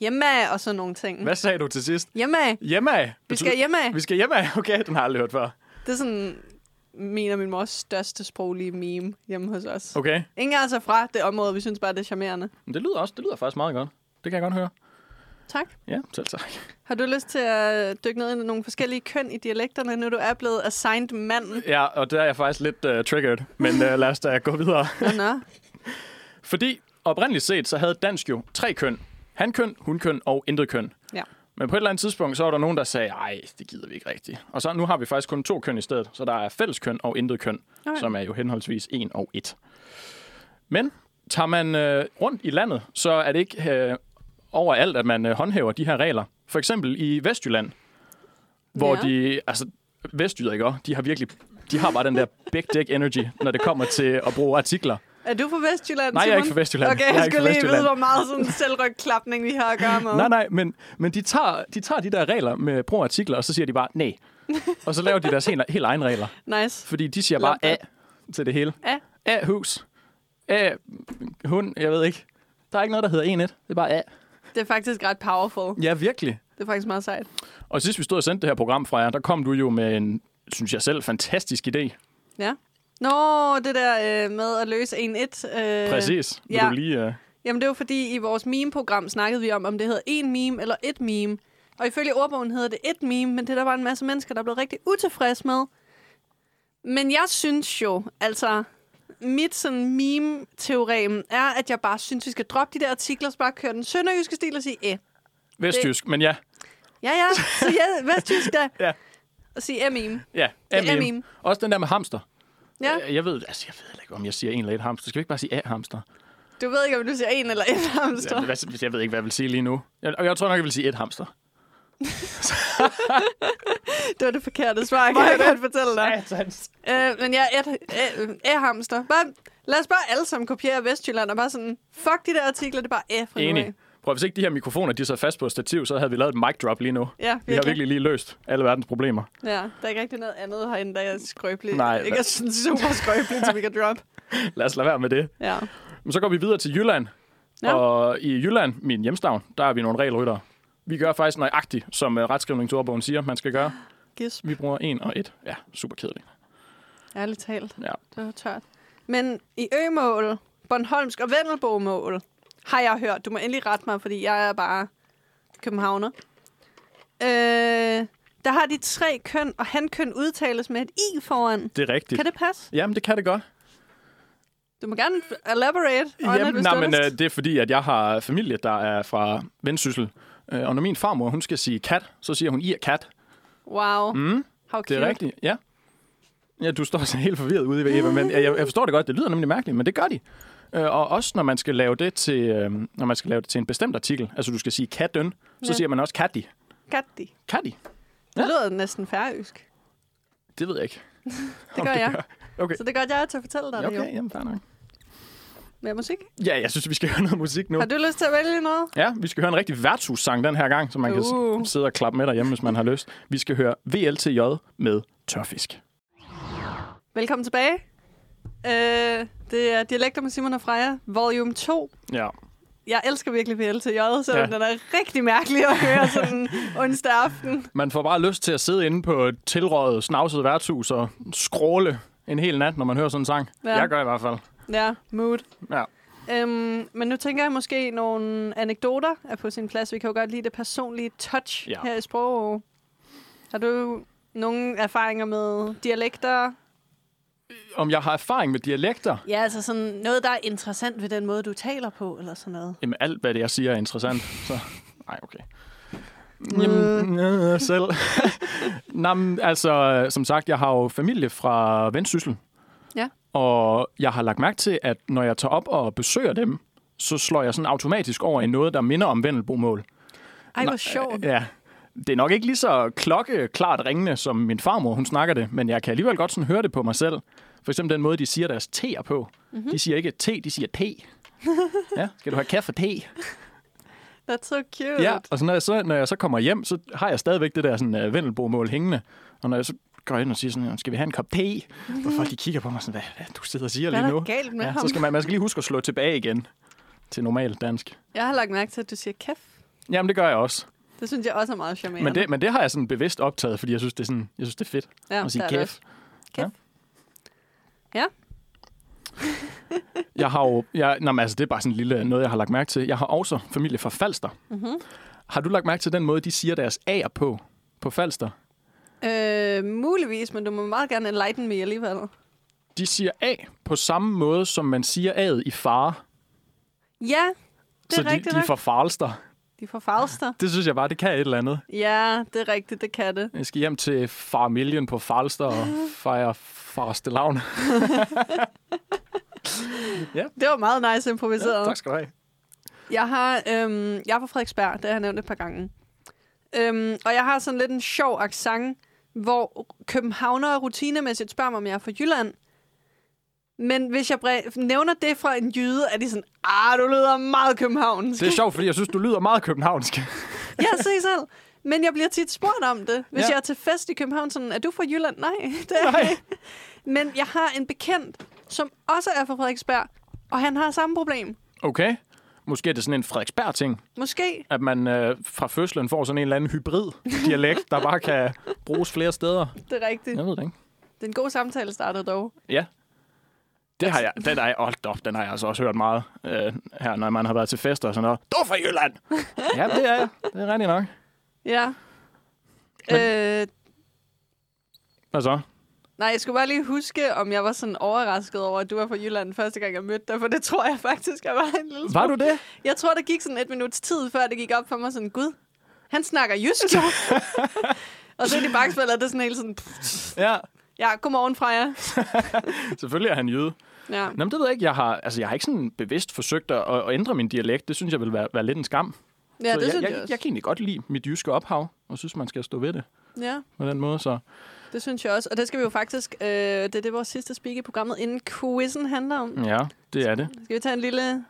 S3: hjemme og sådan nogle ting.
S2: Hvad sagde du til sidst?
S3: Hjemme.
S2: Hjemme.
S3: Vi skal hjemme.
S2: Vi skal hjemme. Okay, den har jeg aldrig hørt før.
S3: Det er sådan min og min mors største sproglige meme hjemme hos os. Okay.
S2: Okay.
S3: Ingen er altså fra det område, vi synes bare, det er charmerende.
S2: Men det lyder også, det lyder faktisk meget godt. Det kan jeg godt høre.
S3: Tak.
S2: Ja, selv tak.
S3: Har du lyst til at dykke ned i nogle forskellige køn i dialekterne, nu du er blevet assigned manden?
S2: Ja, og der er jeg faktisk lidt uh, triggered, men uh, lad os da gå videre.
S3: Nå, nå.
S2: Fordi oprindeligt set, så havde dansk jo tre køn. Hankøn, hunkøn og intetkøn.
S3: Ja.
S2: Men på et eller andet tidspunkt, så var der nogen, der sagde, nej, det gider vi ikke rigtigt. Og så nu har vi faktisk kun to køn i stedet, så der er fælleskøn og intetkøn, okay.
S3: Okay.
S2: som er jo henholdsvis en og et. Men tager man øh, rundt i landet, så er det ikke øh, overalt, at man øh, håndhæver de her regler. For eksempel i Vestjylland, hvor
S3: Ja.
S2: de, altså vestjyder, ikke også? de har virkelig, de har bare den der big dick energy, når det kommer til at bruge artikler.
S3: Er du fra Vestjylland,
S2: Nej, jeg er
S3: Simon?
S2: ikke fra Vestjylland.
S3: Okay,
S2: Jeg er
S3: jeg,
S2: ikke
S3: jeg
S2: fra
S3: skulle lige vide,
S2: Vestjylland.
S3: hvor meget sådan selvrygklapning vi har at gøre med.
S2: Nej, nej, men, men de, tager, de tager de der regler med brug af artikler, og så siger de bare, nej. Og så laver de deres helt, helt egen regler.
S3: Nice.
S2: Fordi de siger bare A
S3: Lampe.
S2: til det hele.
S3: Ja.
S2: A hus. A hund, jeg ved ikke. Der er ikke noget, der hedder E 1 Det er bare A.
S3: Det er faktisk ret powerful.
S2: Ja, virkelig.
S3: Det er faktisk meget sejt.
S2: Og sidst vi stod og sendte det her program fra jer, der kom du jo med en, synes jeg selv, fantastisk idé.
S3: Ja. Nå, det der øh, med at løse 1-1. Øh,
S2: Præcis. Vil
S3: ja.
S2: du lige... Uh...
S3: Jamen, det var fordi, i vores meme-program snakkede vi om, om det hedder en meme eller et meme. Og ifølge ordbogen hedder det et meme, men det er der bare en masse mennesker, der er blevet rigtig utilfredse med. Men jeg synes jo, altså, mit sådan meme-teorem er, at jeg bare synes, vi skal droppe de der artikler, og bare køre den sønderjyske stil og sige, eh.
S2: Vestjysk, men ja.
S3: Ja, ja, så ja, vestjysk da.
S2: Ja.
S3: Og sige, eh, meme.
S2: Ja,
S3: Det er
S2: M&M.
S3: meme.
S2: Også den der med hamster.
S3: Ja.
S2: Jeg, jeg ved, altså, jeg ved heller ikke, om jeg siger en eller et hamster. Skal vi ikke bare sige A-hamster?
S3: Du ved ikke, om du siger en eller et hamster.
S2: Jeg, hvad- jeg ved ikke, hvad jeg vil sige lige nu. Jeg, og jeg tror nok, jeg vil sige et hamster.
S3: Det var det forkerte svar, kan jeg godt fortælle dig.
S2: Satans.
S3: Øh, men jeg er et, øh, øh, hamster. Bare, lad os bare alle sammen kopiere Vestjylland og bare sådan, fuck de der artikler, det er bare æh fra nu af.
S2: Enig. Prøv, hvis ikke de her mikrofoner de sad fast på et stativ, så havde vi lavet et mic drop lige nu.
S3: Ja,
S2: Vi har virkelig lige løst alle verdens problemer.
S3: Ja, der er ikke rigtig noget andet herinde, der er skrøbeligt.
S2: Nej,
S3: ikke
S2: hvad-
S3: er sådan super skrøbeligt, som vi kan droppe.
S2: Lad os lade være med det.
S3: Ja.
S2: Men så går vi videre til Jylland.
S3: Ja.
S2: Ja. Og i Jylland, min hjemstavn, der er vi nogle regelryttere. Vi gør faktisk nøjagtigt, som uh, retskrivningsordbogen siger, man skal gøre.
S3: Gisp.
S2: Vi bruger en og et. Ja, super kedeligt.
S3: Ærligt talt.
S2: Ja.
S3: Det var tørt. Men i ømål, Bornholmsk og Vendelbomål har jeg hørt. Du må endelig rette mig, fordi jeg er bare københavner. Øh, der har de tre køn, og hankøn udtales med et i foran.
S2: Det er rigtigt.
S3: Kan det passe?
S2: Jamen, det kan det godt.
S3: Du må gerne elaborate on it, hvis
S2: nej,
S3: du
S2: men
S3: har
S2: øh,
S3: lyst.
S2: det er fordi, at jeg har familie, der er fra Vendsyssel. Øh, og når min farmor, hun skal sige kat, så siger hun i er kat.
S3: Wow.
S2: Mm,
S3: How cute.
S2: det er rigtigt, ja. Ja, du står så helt forvirret ude ved Eva, men jeg, jeg forstår det godt. Det lyder nemlig mærkeligt, men det gør de. Øh, og også når man skal lave det til, øh, når man skal lave det til en bestemt artikel, altså du skal sige katten, så
S3: Ja.
S2: siger man også katti.
S3: Gatti. Det
S2: Katti?
S3: ja.
S2: Ja.
S3: lyder næsten færøsk.
S2: Det ved jeg ikke.
S3: Det gør jeg.
S2: Okay.
S3: Så det gør jeg til at fortælle dig
S2: Ja,
S3: det
S2: okay,
S3: jo.
S2: jamen fair nok.
S3: Med musik.
S2: Ja, jeg synes, vi skal høre noget musik nu.
S3: Har du lyst til at vælge noget?
S2: Ja, vi skal høre en rigtig værtshussang den her gang, så man uh.
S3: Uh.
S2: kan s- sidde og klappe med derhjemme, hvis man har lyst. Vi skal høre VLTJ med tørfisk.
S3: Velkommen tilbage. Øh, det er Dialekter med Simon og Freja, volume 2.
S2: Ja.
S3: Jeg elsker virkelig VLTJ, så ja.
S2: Ja.
S3: den er rigtig mærkelig at høre sådan onsdag aften.
S2: Man får bare lyst til at sidde inde på et tilrøget, snavset værtshus og skråle en hel nat, når man hører sådan en sang.
S3: Ja.
S2: Ja. Jeg gør i hvert fald.
S3: Ja, mood.
S2: Ja.
S3: Øhm, men nu tænker jeg måske, nogle anekdoter er på sin plads. Vi kan jo godt lide det personlige touch ja.
S2: Ja.
S3: her i sprog. Har du nogle erfaringer med dialekter?
S2: Om jeg har erfaring med dialekter?
S3: Ja, altså sådan noget, der er interessant ved den måde, du taler på, eller sådan noget.
S2: Jamen, alt hvad det, jeg siger, er interessant. Så... Nej, okay. Jamen, øh, selv. Nå, men, altså, øh, som sagt, jeg har jo familie fra Vendsyssel.
S3: Ja.
S2: Og jeg har lagt mærke til, at når jeg tager op og besøger dem, så slår jeg sådan automatisk over i noget, der minder om Vendelbomål.
S3: Ej, hvor sjovt.
S2: Ja. Det er nok ikke lige så klokkeklart ringende, som min farmor, hun snakker det, men jeg kan alligevel godt sådan høre det på mig selv. For eksempel den måde, de siger deres t'er på.
S3: Mhm.
S2: Mm-hmm. De siger ikke te, de siger te. ja, skal du have kaffe og te?
S3: That's so cute.
S2: Ja, og så når, jeg så når jeg så kommer hjem, så har jeg stadigvæk det der sådan, uh, vendelbomål hængende. Og når jeg så går ind og siger sådan, skal vi have en kop te? Og folk de kigger på mig sådan, hvad, hvad er det, du sidder og siger
S3: Hvad er
S2: lige
S3: der
S2: nu?
S3: galt med
S2: ja,
S3: ham?
S2: så skal man, man skal lige huske at slå tilbage igen til normal dansk.
S3: Jeg har lagt mærke til, at du siger kæft.
S2: Jamen, det gør jeg også.
S3: Det synes jeg også er meget charmerende.
S2: Men det, men det har jeg sådan bevidst optaget, fordi jeg synes, det er, sådan, jeg synes, det er fedt
S3: ja,
S2: at sige
S3: der er det
S2: kæft.
S3: også. Kæft. Ja.
S2: Jeg har jo... Jeg, nå, men altså, det er bare sådan en lille noget, jeg har lagt mærke til. Jeg har også familie fra Falster. Mm-hmm.
S3: Mhm.
S2: Har du lagt mærke til den måde, de siger deres A'er på, på Falster?
S3: Øh, muligvis, men du må meget gerne enlighten me alligevel.
S2: De siger A på samme måde, som man siger A'et i fare.
S3: Ja, det
S2: Så
S3: er
S2: de,
S3: rigtigt
S2: de er
S3: nok.
S2: fra Falster.
S3: De er fra Falster.
S2: Det synes jeg bare, det kan et eller andet.
S3: Ja, det er rigtigt, det kan det.
S2: Jeg skal hjem til Farmillion på Falster og
S3: Mhm.
S2: fejre Farstelavn.
S3: Det var meget nice improviseret.
S2: tak skal du have.
S3: Jeg har, øhm, jeg er fra Frederiksberg, det har jeg nævnt et par gange. Øhm, og jeg har sådan lidt en sjov accent, hvor københavnere rutinemæssigt spørger mig, om jeg er fra Jylland. Men hvis jeg bre- nævner det fra en jyde, er de sådan, ah, du lyder meget københavnsk.
S2: Det er sjovt, fordi jeg synes, du lyder meget københavnsk.
S3: Jeg se selv. Men jeg bliver tit spurgt om det. Hvis ja.
S2: Ja.
S3: jeg er til fest i København, sådan, er du fra Jylland? Nej, det er jeg ikke. Men jeg har en bekendt, som også er fra Frederiksberg, og han har samme problem.
S2: Okay. Måske er det sådan en Frederiksberg-ting,
S3: Måske.
S2: at man øh, fra fødslen får sådan en eller anden hybrid-dialekt, der bare kan bruges flere steder.
S3: Det er rigtigt.
S2: Jeg ved det ikke.
S3: Det er en god samtale startede dog.
S2: Ja. Det har jeg, den har jeg, holdt op, den har jeg altså også hørt meget øh, her, når man har været til fester og sådan noget. Du er fra Jylland! ja, det er jeg. Det er rigtigt nok.
S3: Ja.
S2: Men-
S3: Øh,
S2: Hvad så?
S3: nej, jeg skulle bare lige huske, om jeg var sådan overrasket over, at du var fra Jylland første gang, jeg mødte dig, for det tror jeg faktisk, jeg var en lille smule.
S2: Var du det?
S3: Jeg tror, der gik sådan et minuts tid, før det gik op for mig sådan, gud, han snakker jysk. og så i de bagspillere, det er sådan helt sådan, pff,
S2: Ja.
S3: Ja, godmorgen, Freja.
S2: Selvfølgelig er han jøde.
S3: Ja.
S2: Nå, men det ved jeg ikke. Jeg har, altså, jeg har ikke sådan bevidst forsøgt at, at ændre min dialekt. Det synes jeg vil være, være lidt en skam.
S3: ja,
S2: Så
S3: det
S2: jeg,
S3: synes
S2: jeg,
S3: jeg,
S2: jeg,
S3: også.
S2: kan egentlig godt lide mit jyske ophav, og synes, man skal stå ved det
S3: Ja,
S2: på den måde. Så.
S3: det synes jeg også. Og det skal vi jo faktisk... Øh, det er det, vores sidste speak i programmet, inden quizzen handler om.
S2: Ja, det er det.
S3: Skal vi tage en lille,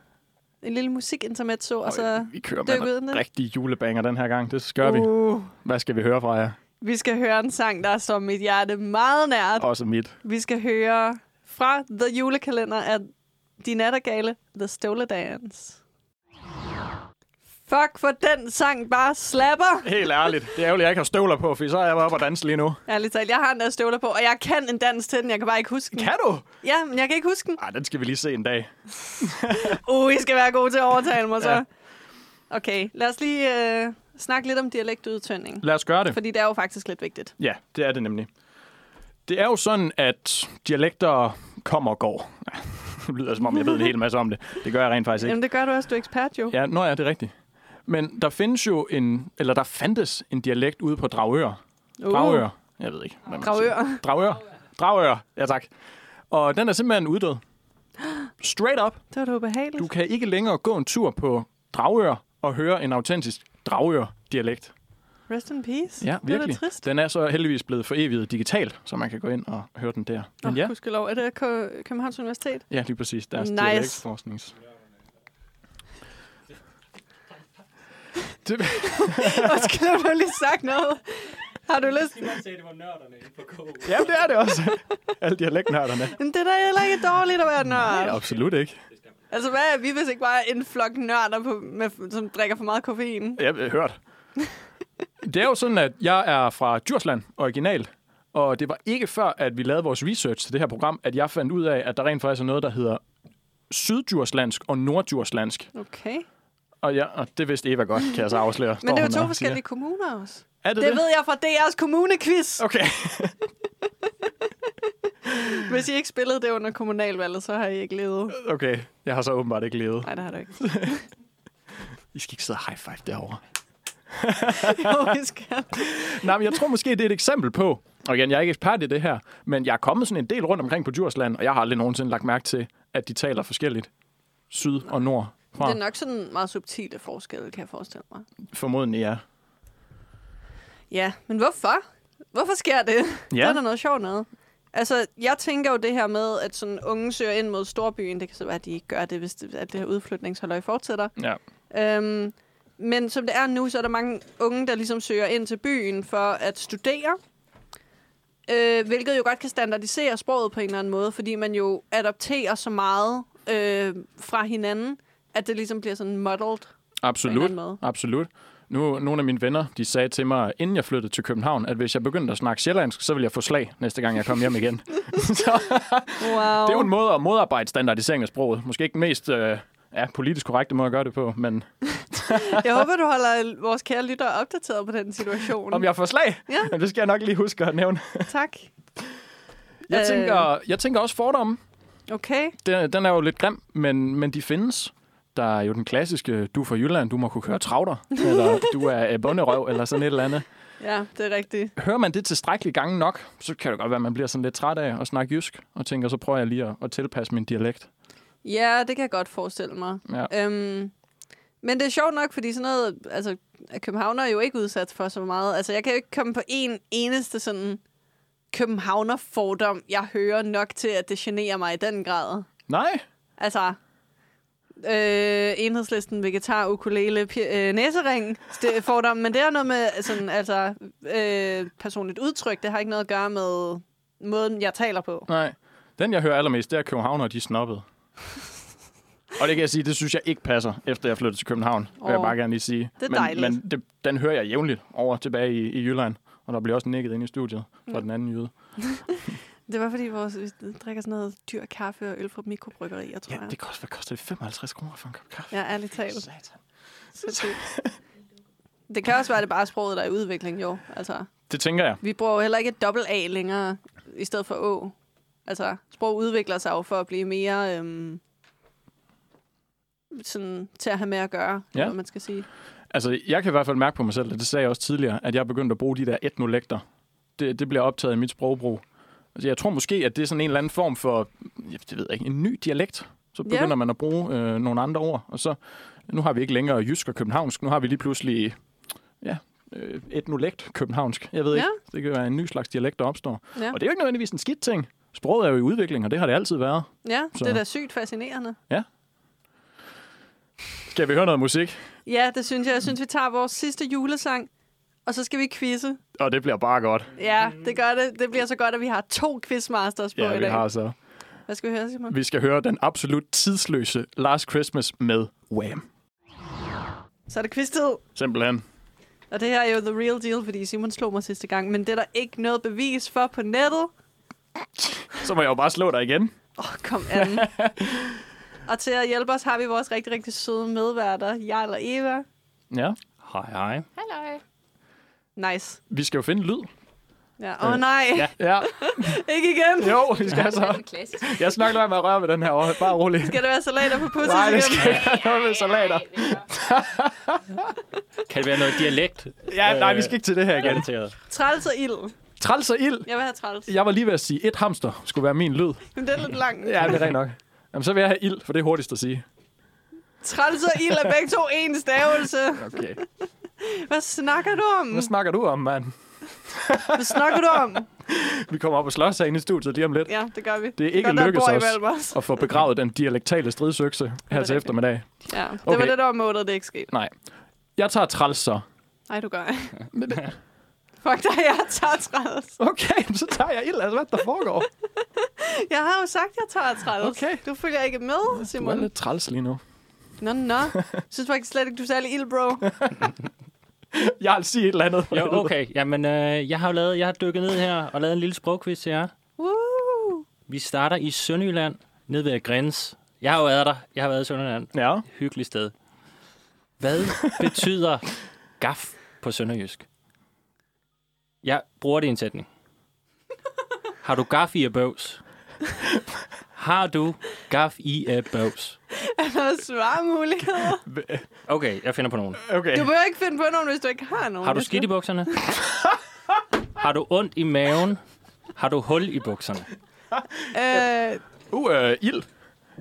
S3: en lille musikintermezzo, og så...
S2: Øj, vi kører
S3: dyk ud
S2: med
S3: i
S2: en
S3: den.
S2: rigtig julebanger den her gang. Det skal vi.
S3: Uh,
S2: Hvad skal vi høre fra jer?
S3: vi skal høre en sang, der er som mit hjerte meget nært.
S2: Også mit.
S3: Vi skal høre fra The Julekalender af De Nattergale, The Stole Dance. Fuck, for den sang bare slapper.
S2: Helt ærligt. Det er ærgerligt, jeg ikke har støvler på, for så er jeg bare oppe og danse lige nu.
S3: Ærligt talt, jeg har en der støvler på, og jeg kan en dans til den, jeg kan bare ikke huske den.
S2: Kan du?
S3: Ja, men jeg kan ikke huske den.
S2: Ej, den skal vi lige se en dag.
S3: Uh, I skal være gode til at overtale mig så.
S2: Ja.
S3: Okay, lad os lige øh, snakke lidt om dialektudtønding.
S2: Lad os gøre det.
S3: Fordi det er jo faktisk lidt vigtigt.
S2: Ja, det er det nemlig. Det er jo sådan, at dialekter kommer og går. Ja, det lyder som om, jeg ved en hel masse om det. Det gør jeg rent faktisk ikke.
S3: Jamen, det gør du også, du er ekspert jo.
S2: Ja, nå ja, det er rigtigt. Men der findes jo en, eller der fandtes en dialekt ude på Dragør.
S3: Uh.
S2: Dragør. Jeg ved ikke. hvad man siger.
S3: Dragør.
S2: Dragør. Dragør. Ja, tak. Og den er simpelthen uddød. Straight up.
S3: Det var da ubehageligt.
S2: Du kan ikke længere gå en tur på Dragør og høre en autentisk Dragør-dialekt.
S3: Rest in peace.
S2: Ja,
S3: Det er
S2: virkelig.
S3: da trist.
S2: Den er så heldigvis blevet foreviget digitalt, så man kan gå ind og høre den der. Men
S3: Åh,
S2: ja,
S3: gudskelov. Er det Kø- Københavns Universitet?
S2: ja, lige præcis. Deres
S3: Nice.
S2: nice. dialektforsknings... Det,
S3: Undskyld, har du lige sagt noget? Har du lyst?
S4: Man sagde, det var nørderne inde på KU.
S2: ja, det er det også. Alle dialektnørderne.
S3: Men det er da heller ikke dårligt at være
S2: Nej,
S3: nørd.
S2: absolut ikke.
S3: Altså, hvad er vi, hvis ikke bare er en flok nørder, på, med, som drikker for meget koffein?
S2: Jeg har hørt. Det er jo sådan, at jeg er fra Djursland original, og det var ikke før, at vi lavede vores research til det her program, at jeg fandt ud af, at der rent faktisk er noget, der hedder syddjurslandsk og norddjurslandsk.
S3: Okay.
S2: Og, ja, og det vidste Eva godt, kan jeg så afsløre.
S3: Men
S2: står
S3: det er
S2: hun
S3: jo to
S2: og siger.
S3: forskellige kommuner også.
S2: Er det
S3: Det ved jeg fra DR's kommunequiz.
S2: Okay.
S3: Hvis I ikke spillede det under kommunalvalget, så har I ikke levet.
S2: okay, jeg har så åbenbart ikke levet.
S3: Nej, det har du ikke.
S2: I skal ikke sidde og high five derovre.
S3: Jo, vi skal.
S2: Nej, men jeg tror måske, det er et eksempel på, og igen, jeg er ikke ekspert i det her, men jeg er kommet sådan en del rundt omkring på Djursland, og jeg har aldrig nogensinde lagt mærke til, at de taler forskelligt. Syd og nord. Fra.
S3: Det er nok sådan meget subtile forskelle, kan jeg forestille mig.
S2: Formodentlig ja.
S3: Ja, men hvorfor? Hvorfor sker det? Ja. Der er der noget sjovt noget. Altså, jeg tænker jo det her med, at sådan unge søger ind mod storbyen. Det kan så være, at de ikke gør det, hvis det, at det her udflytningshalløj fortsætter.
S2: ja.
S3: Øhm, men som det er nu, så er der mange unge, der ligesom søger ind til byen for at studere. Øh, hvilket jo godt kan standardisere sproget på en eller anden måde, fordi man jo adopterer så meget øh, fra hinanden, at det ligesom bliver sådan modeled. På en
S2: Absolut.
S3: eller anden måde.
S2: Absolut. Nu, nogle af mine venner, de sagde til mig, inden jeg flyttede til København, at hvis jeg begyndte at snakke sjællandsk, så ville jeg få slag, næste gang jeg kom hjem igen.
S3: Wow.
S2: Det er jo en måde at modarbejde standardisering af sproget. Måske ikke den mest øh, ja, politisk korrekte måde at gøre det på, men
S3: Jeg håber, du holder vores kære lyttere opdateret på den situation.
S2: om jeg får slag,
S3: Ja.
S2: ja. det skal jeg nok lige huske at nævne.
S3: Tak.
S2: Jeg,
S3: Øh.
S2: tænker, jeg tænker også fordomme.
S3: Okay.
S2: Den, den er jo lidt grim, men, men de findes. Der er jo den klassiske, du er fra Jylland, du må kunne køre travter, eller du er øh, bonderøv, eller sådan et eller andet.
S3: Ja, det er rigtigt.
S2: hører man det tilstrækkeligt gange nok, så kan det godt være, at man bliver sådan lidt træt af at snakke jysk, og tænker, så prøver jeg lige at, at tilpasse min dialekt.
S3: Ja, det kan jeg godt forestille mig.
S2: Ja.
S3: Øhm, men det er sjovt nok, fordi sådan noget... Altså, københavner er jo ikke udsat for så meget. Altså, jeg kan jo ikke komme på en eneste sådan københavner-fordom, jeg hører nok til, at det generer mig i den grad.
S2: Nej,
S3: Altså, øh, enhedslisten, vegetar, ukulele, pi- øh, næsering, det fordom, men det er noget med sådan, altså, øh, personligt udtryk, det har ikke noget at gøre med måden, jeg taler på.
S2: nej. Den, jeg hører allermest, det er københavner, de er snobbede. og det kan jeg sige, det synes jeg ikke passer, efter jeg flyttede til København, oh, vil jeg
S3: Åh,
S2: bare gerne lige sige.
S3: det er
S2: men,
S3: dejligt.
S2: Men det, den hører jeg jævnligt over tilbage i, i Jylland, og der bliver også nikket ind i studiet fra den anden jyde.
S3: Det var fordi, vores, vi drikker sådan noget dyr kaffe og øl fra mikrobryggerier, tror jeg.
S2: koster, hvad koster det? 55 kroner for en kop kaffe?
S3: Ja, ærligt talt.
S2: Satan.
S3: Så dyrt. Det kan også være, at det bare er sproget, der er i udvikling, jo. Altså,
S2: Det tænker jeg.
S3: vi bruger jo heller ikke et dobbelt A længere, i stedet for Å. Altså, sprog udvikler sig jo for at blive mere øhm, sådan, til at have med at gøre,
S2: Ja.
S3: ja. hvad man skal sige.
S2: Altså, jeg kan i hvert fald mærke på mig selv, og det sagde jeg også tidligere, at jeg er begyndt at bruge de der etnolekter. Det, det bliver optaget i mit sprogbrug. Altså, jeg tror måske, at det er sådan en eller anden form for, jeg det ved jeg ikke, en ny dialekt. Så
S3: Ja.
S2: begynder man at bruge øh, nogle andre ord, og så, nu har vi ikke længere jysk og københavnsk, nu har vi lige pludselig, ja, øh, etnolekt københavnsk. Jeg ved
S3: Ja.
S2: ikke, det kan være en ny slags dialekt, der opstår.
S3: Ja.
S2: Og det er jo ikke nødvendigvis en skidt ting. Sproget er jo i udvikling, og det har det altid været.
S3: Ja,
S2: Så-
S3: det er da sygt fascinerende.
S2: Skal vi høre noget musik?
S3: Ja, det synes jeg. Jeg synes, vi tager vores sidste julesang, og så skal vi quizze.
S2: Og det bliver bare godt.
S3: Ja, det gør det. Det bliver så godt, at vi har to quizmasters på
S2: Ja,
S3: i
S2: vi
S3: dag.
S2: har så.
S3: Hvad skal vi høre, Simon?
S2: Vi skal høre den absolut tidsløse Last Christmas med Wham.
S3: Så er det quiztid.
S2: Simpelthen.
S3: Og det her er jo the real deal, fordi Simon slog mig sidste gang. Men det er der ikke noget bevis for på nettet.
S2: Så må jeg jo bare slå dig igen.
S3: Åh, oh, kom an. og til at hjælpe os har vi vores rigtig, rigtig søde medværter, Jarl og Eva.
S2: Ja.
S4: Hej, hej.
S3: Nice.
S2: Vi skal jo finde lyd.
S3: Ja. Åh oh, nej, ja.
S2: Øh, Ja,
S3: ikke igen.
S2: jo, vi skal så.
S5: klassisk.
S2: Jeg skal nok lade være med at røre ved den her år. Bare rolig.
S3: Skal der være salater på pussy
S2: Nej, det
S3: igen?
S2: skal ikke have noget med salater.
S4: Kan det være noget dialekt? Øh,
S2: Ja, nej, vi skal ikke til det her igen.
S4: Garanteret.
S3: Træls og ild.
S2: Træls og ild.
S3: Jeg vil have træls.
S2: Jeg var lige ved at sige, et hamster skulle være min lyd.
S3: Men det er lidt langt.
S2: Ja, det er rent nok. Jamen, så vil jeg have ild, for det er hurtigst at sige.
S3: Træls og ild er begge to en stavelse.
S2: Okay.
S3: Hvad snakker du om?
S2: Hvad snakker du om, mand?
S3: Hvad snakker du om?
S2: Vi kommer op og slås herinde i studiet lige om lidt.
S3: Ja, det gør vi.
S2: Det er ikke
S3: Godt, der er
S2: lykkedes
S3: bord
S2: os.
S3: imellem os.
S2: Og få begravet den dialektale stridsøkse her til
S3: rigtigt.
S2: eftermiddag.
S3: Ja, det var
S2: Okay.
S3: det, der var målet, det ikke skete.
S2: Nej. Jeg tager træls så.
S3: Nej, du gør ikke. Fuck dig, jeg tager træls.
S2: Okay, så tager jeg ild. Altså, hvad der foregår?
S3: Jeg har jo sagt, jeg tager træls.
S2: Okay.
S3: Du følger ikke med,
S2: Du er
S3: Simon.
S2: lidt træls lige nu.
S3: Nå, nå. Jeg synes faktisk slet ikke, du er særlig ild, bro.
S2: Jeg vil sige et eller andet.
S4: Jo, okay. Jamen, øh, jeg har jo lavet, jeg har dykket ned her og lavet en lille sprogquiz til jer.
S3: Woo!
S4: Vi starter i Sønderjylland, ned ved Græns. Jeg har jo været der. Jeg har været i Sønderjylland.
S2: Ja.
S4: Hyggeligt sted. Hvad betyder gaf på sønderjysk? Jeg bruger det i en sætning. Har du gaf i et bøvs? Har du gaf i et bøvs?
S3: Der er svarmuligheder.
S4: Okay, jeg finder på nogen.
S2: Okay.
S3: Du behøver ikke finde på nogen, hvis du ikke har nogen.
S4: Har du
S3: Hvis
S4: skidt i bukserne? Har du ondt i maven? Har du hul i bukserne?
S3: Øh,
S2: Uh, øh, ild.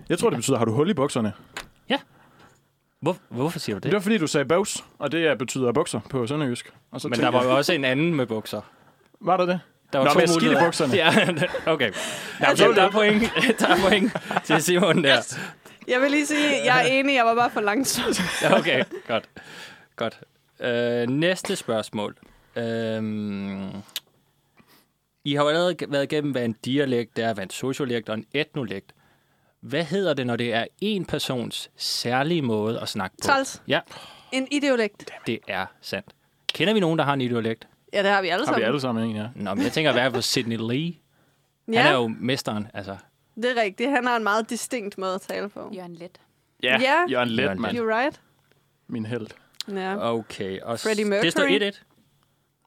S2: Jeg tror, det betyder, har du hul i bukserne?
S4: Hvor, hvorfor siger du
S2: Det
S4: det?
S2: var, fordi du sagde bøvs, og det øh, betyder bukser på sønderjysk. Og så
S4: Men
S2: tænkte
S4: der var
S2: jeg,
S4: jo også en anden med bukser.
S2: var der det?
S4: Der var
S2: Nå,
S4: to
S2: men jeg skidt i
S4: muligheder.
S2: bukserne.
S4: Ja, okay. Der, der, der er point. Der er point til Simon der.
S3: jeg vil lige sige, jeg er enig, jeg var bare for langsom.
S4: Ja, Okay, godt. Godt. Øh, næste spørgsmål. Øhm, I har jo allerede g- været igennem, hvad en dialekt er, hvad en sociolekt og en etnolekt. Hvad hedder det, når det er en persons særlige måde at snakke på?
S3: Træls.
S4: Ja,
S3: En ideolekt.
S4: det er sandt. Kender vi nogen, der har en ideolekt?
S3: Ja, det har vi alle
S2: Har vi
S3: sammen.
S2: alle sammen en, ja.
S4: Nå, men jeg tænker i hvert fald Sidney Lee.
S3: Ja,
S4: Ja. Han er jo mesteren, altså.
S3: det er rigtigt. Han har en meget distinkt måde at tale på.
S5: Jørgen Let.
S3: Ja.
S2: Jørgen Let,
S4: Jørgen
S2: mand.
S3: You're right.
S2: Min held.
S3: Ja.
S4: Okay, og s-
S3: Freddie
S4: det står
S3: Mercury.
S4: 1-1.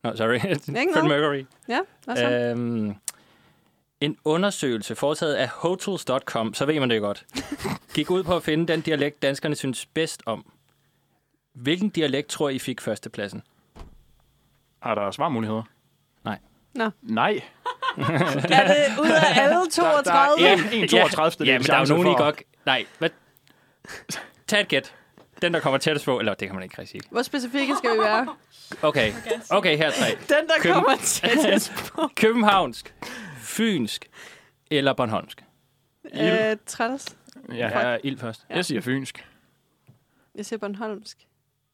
S4: Nå, sorry. Freddie
S3: noget.
S4: Mercury.
S3: Ja, og så?
S4: Øhm, en undersøgelse foretaget af hotels.com, så ved man det godt, gik ud på at finde den dialekt, danskerne synes bedst om. Hvilken dialekt tror I fik førstepladsen?
S2: Har der svarmuligheder?
S4: Nej.
S3: Nå.
S2: Nej.
S3: Er det ud af alle 32?
S2: en, en 32.
S4: Ja, men der er jo nogen, I godt... Nej, hvad? Tag et gæt. Den, der kommer tættest på... Eller, det kan man ikke rigtig sige.
S3: Hvor specifikke skal vi være?
S4: Okay, okay her er tre.
S3: Den, der
S4: Køben-
S3: kommer tættest på.
S4: Københavnsk, Fynsk eller Bornholmsk?
S3: Øh, træls.
S2: Ja,
S4: Ja, ja ild først.
S2: jeg siger fynsk.
S3: Jeg siger Bornholmsk.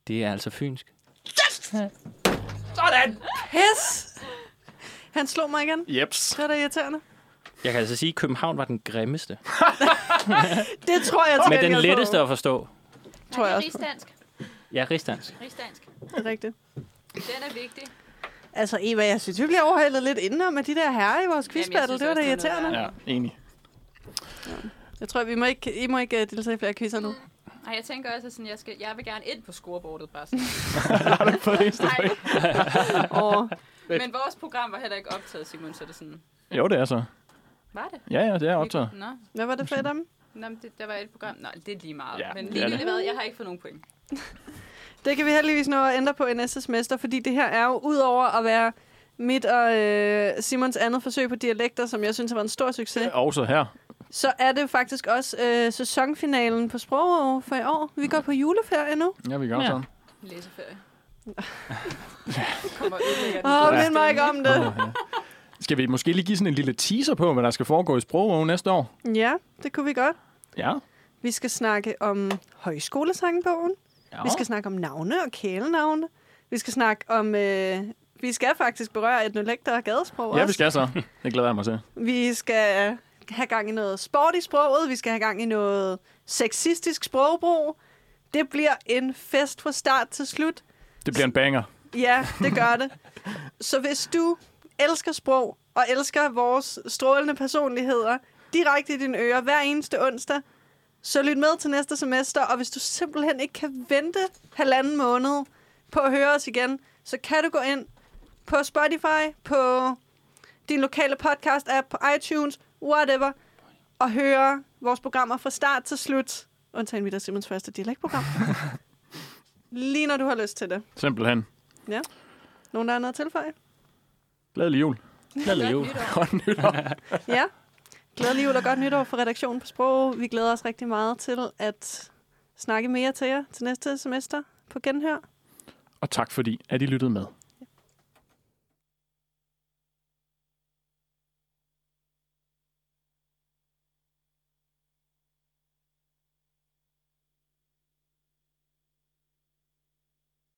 S4: Det er altså Fynsk.
S3: Pis! Han slog mig igen.
S2: Jeps.
S3: Det er da irriterende.
S4: Jeg kan altså sige, at København var den grimmeste.
S3: Det tror jeg til
S4: Men den
S3: gengæld på.
S4: letteste at forstå.
S3: Tror jeg
S5: Nej, det er
S3: også.
S5: rigsdansk.
S4: Ja, rigsdansk.
S5: Rigsdansk.
S3: Det er rigtigt.
S5: Den er vigtig.
S3: Altså, Eva, jeg synes, vi bliver overhældet lidt indenom med de der herrer i vores quizbattle.
S5: synes
S3: Det var da
S5: også, det er
S3: irriterende.
S5: noget
S2: Ja, enig.
S3: Jeg tror, vi må ikke, I må ikke øh, deltage i flere quizzer nu.
S5: Nej, jeg tænker også, at sådan, jeg, skal, jeg vil gerne ind på scoreboardet bare sådan.
S2: For det eneste.
S5: Nej,
S3: Og
S5: men vores program var heller ikke optaget, Simon, så det er sådan...
S2: Jo, det er så.
S5: Var det?
S2: Ja, ja, det er optaget.
S5: Nå,
S3: hvad var det for et af dem?
S5: Nå men det, der var et program. Nej, det er lige meget.
S2: Ja,
S5: Ja, men
S2: det er
S5: ligegyldigt
S2: det.
S5: hvad, jeg har ikke fået nogen point.
S3: Det kan vi heldigvis nå at ændre på i næste semester, fordi det her er jo ud over at være mit og øh, Simons andet forsøg på dialekter, som jeg synes var en stor succes,
S2: Også her.
S3: så er det faktisk også øh, sæsonfinalen på Sprogov for i år. Vi går på juleferie nu.
S2: Ja, vi gør
S4: Ja.
S2: ja. sådan.
S5: Læseferie. Kommer ødelægger den
S3: Åh, oh,
S5: gode
S3: mind mig ikke
S5: stemning.
S3: om det.
S2: Skal vi måske lige give sådan en lille teaser på, hvad der skal foregå i Sprogå næste år?
S3: Ja, det kunne vi godt.
S2: Ja.
S3: Vi skal snakke om højskolesangbogen.
S2: ja.
S3: Vi skal snakke om navne og kælenavne. Vi skal snakke om... Øh, vi skal faktisk berøre etnolekter og gadesprog
S2: ja,
S3: også.
S2: vi skal så. Det glæder jeg mig til.
S3: Vi skal have gang i noget sport i sproget. Vi skal have gang i noget sexistisk sprogbrug. Det bliver en fest fra start til slut.
S2: Det bliver en banger.
S3: Ja, det gør det. Så hvis du elsker sprog og elsker vores strålende personligheder direkte i dine ører hver eneste onsdag, så lyt med til næste semester, og hvis du simpelthen ikke kan vente halvanden måned på at høre os igen, så kan du gå ind på Spotify, på din lokale podcast-app, på iTunes, whatever, og høre vores programmer fra start til slut. Undtagen mit og Simons første dialektprogram. Lige når du har lyst til det.
S2: Simpelthen.
S3: Nogen, der har noget at tilføje?
S2: Glædelig jul.
S4: Glædelig jul.
S5: Godt nytår.
S2: Godt nytår.
S3: Ja. Glædelig jul og godt nytår for redaktionen på Sprog. Vi glæder os rigtig meget til at snakke mere til jer til næste semester på Genhør.
S2: Og tak fordi, at I lyttede med.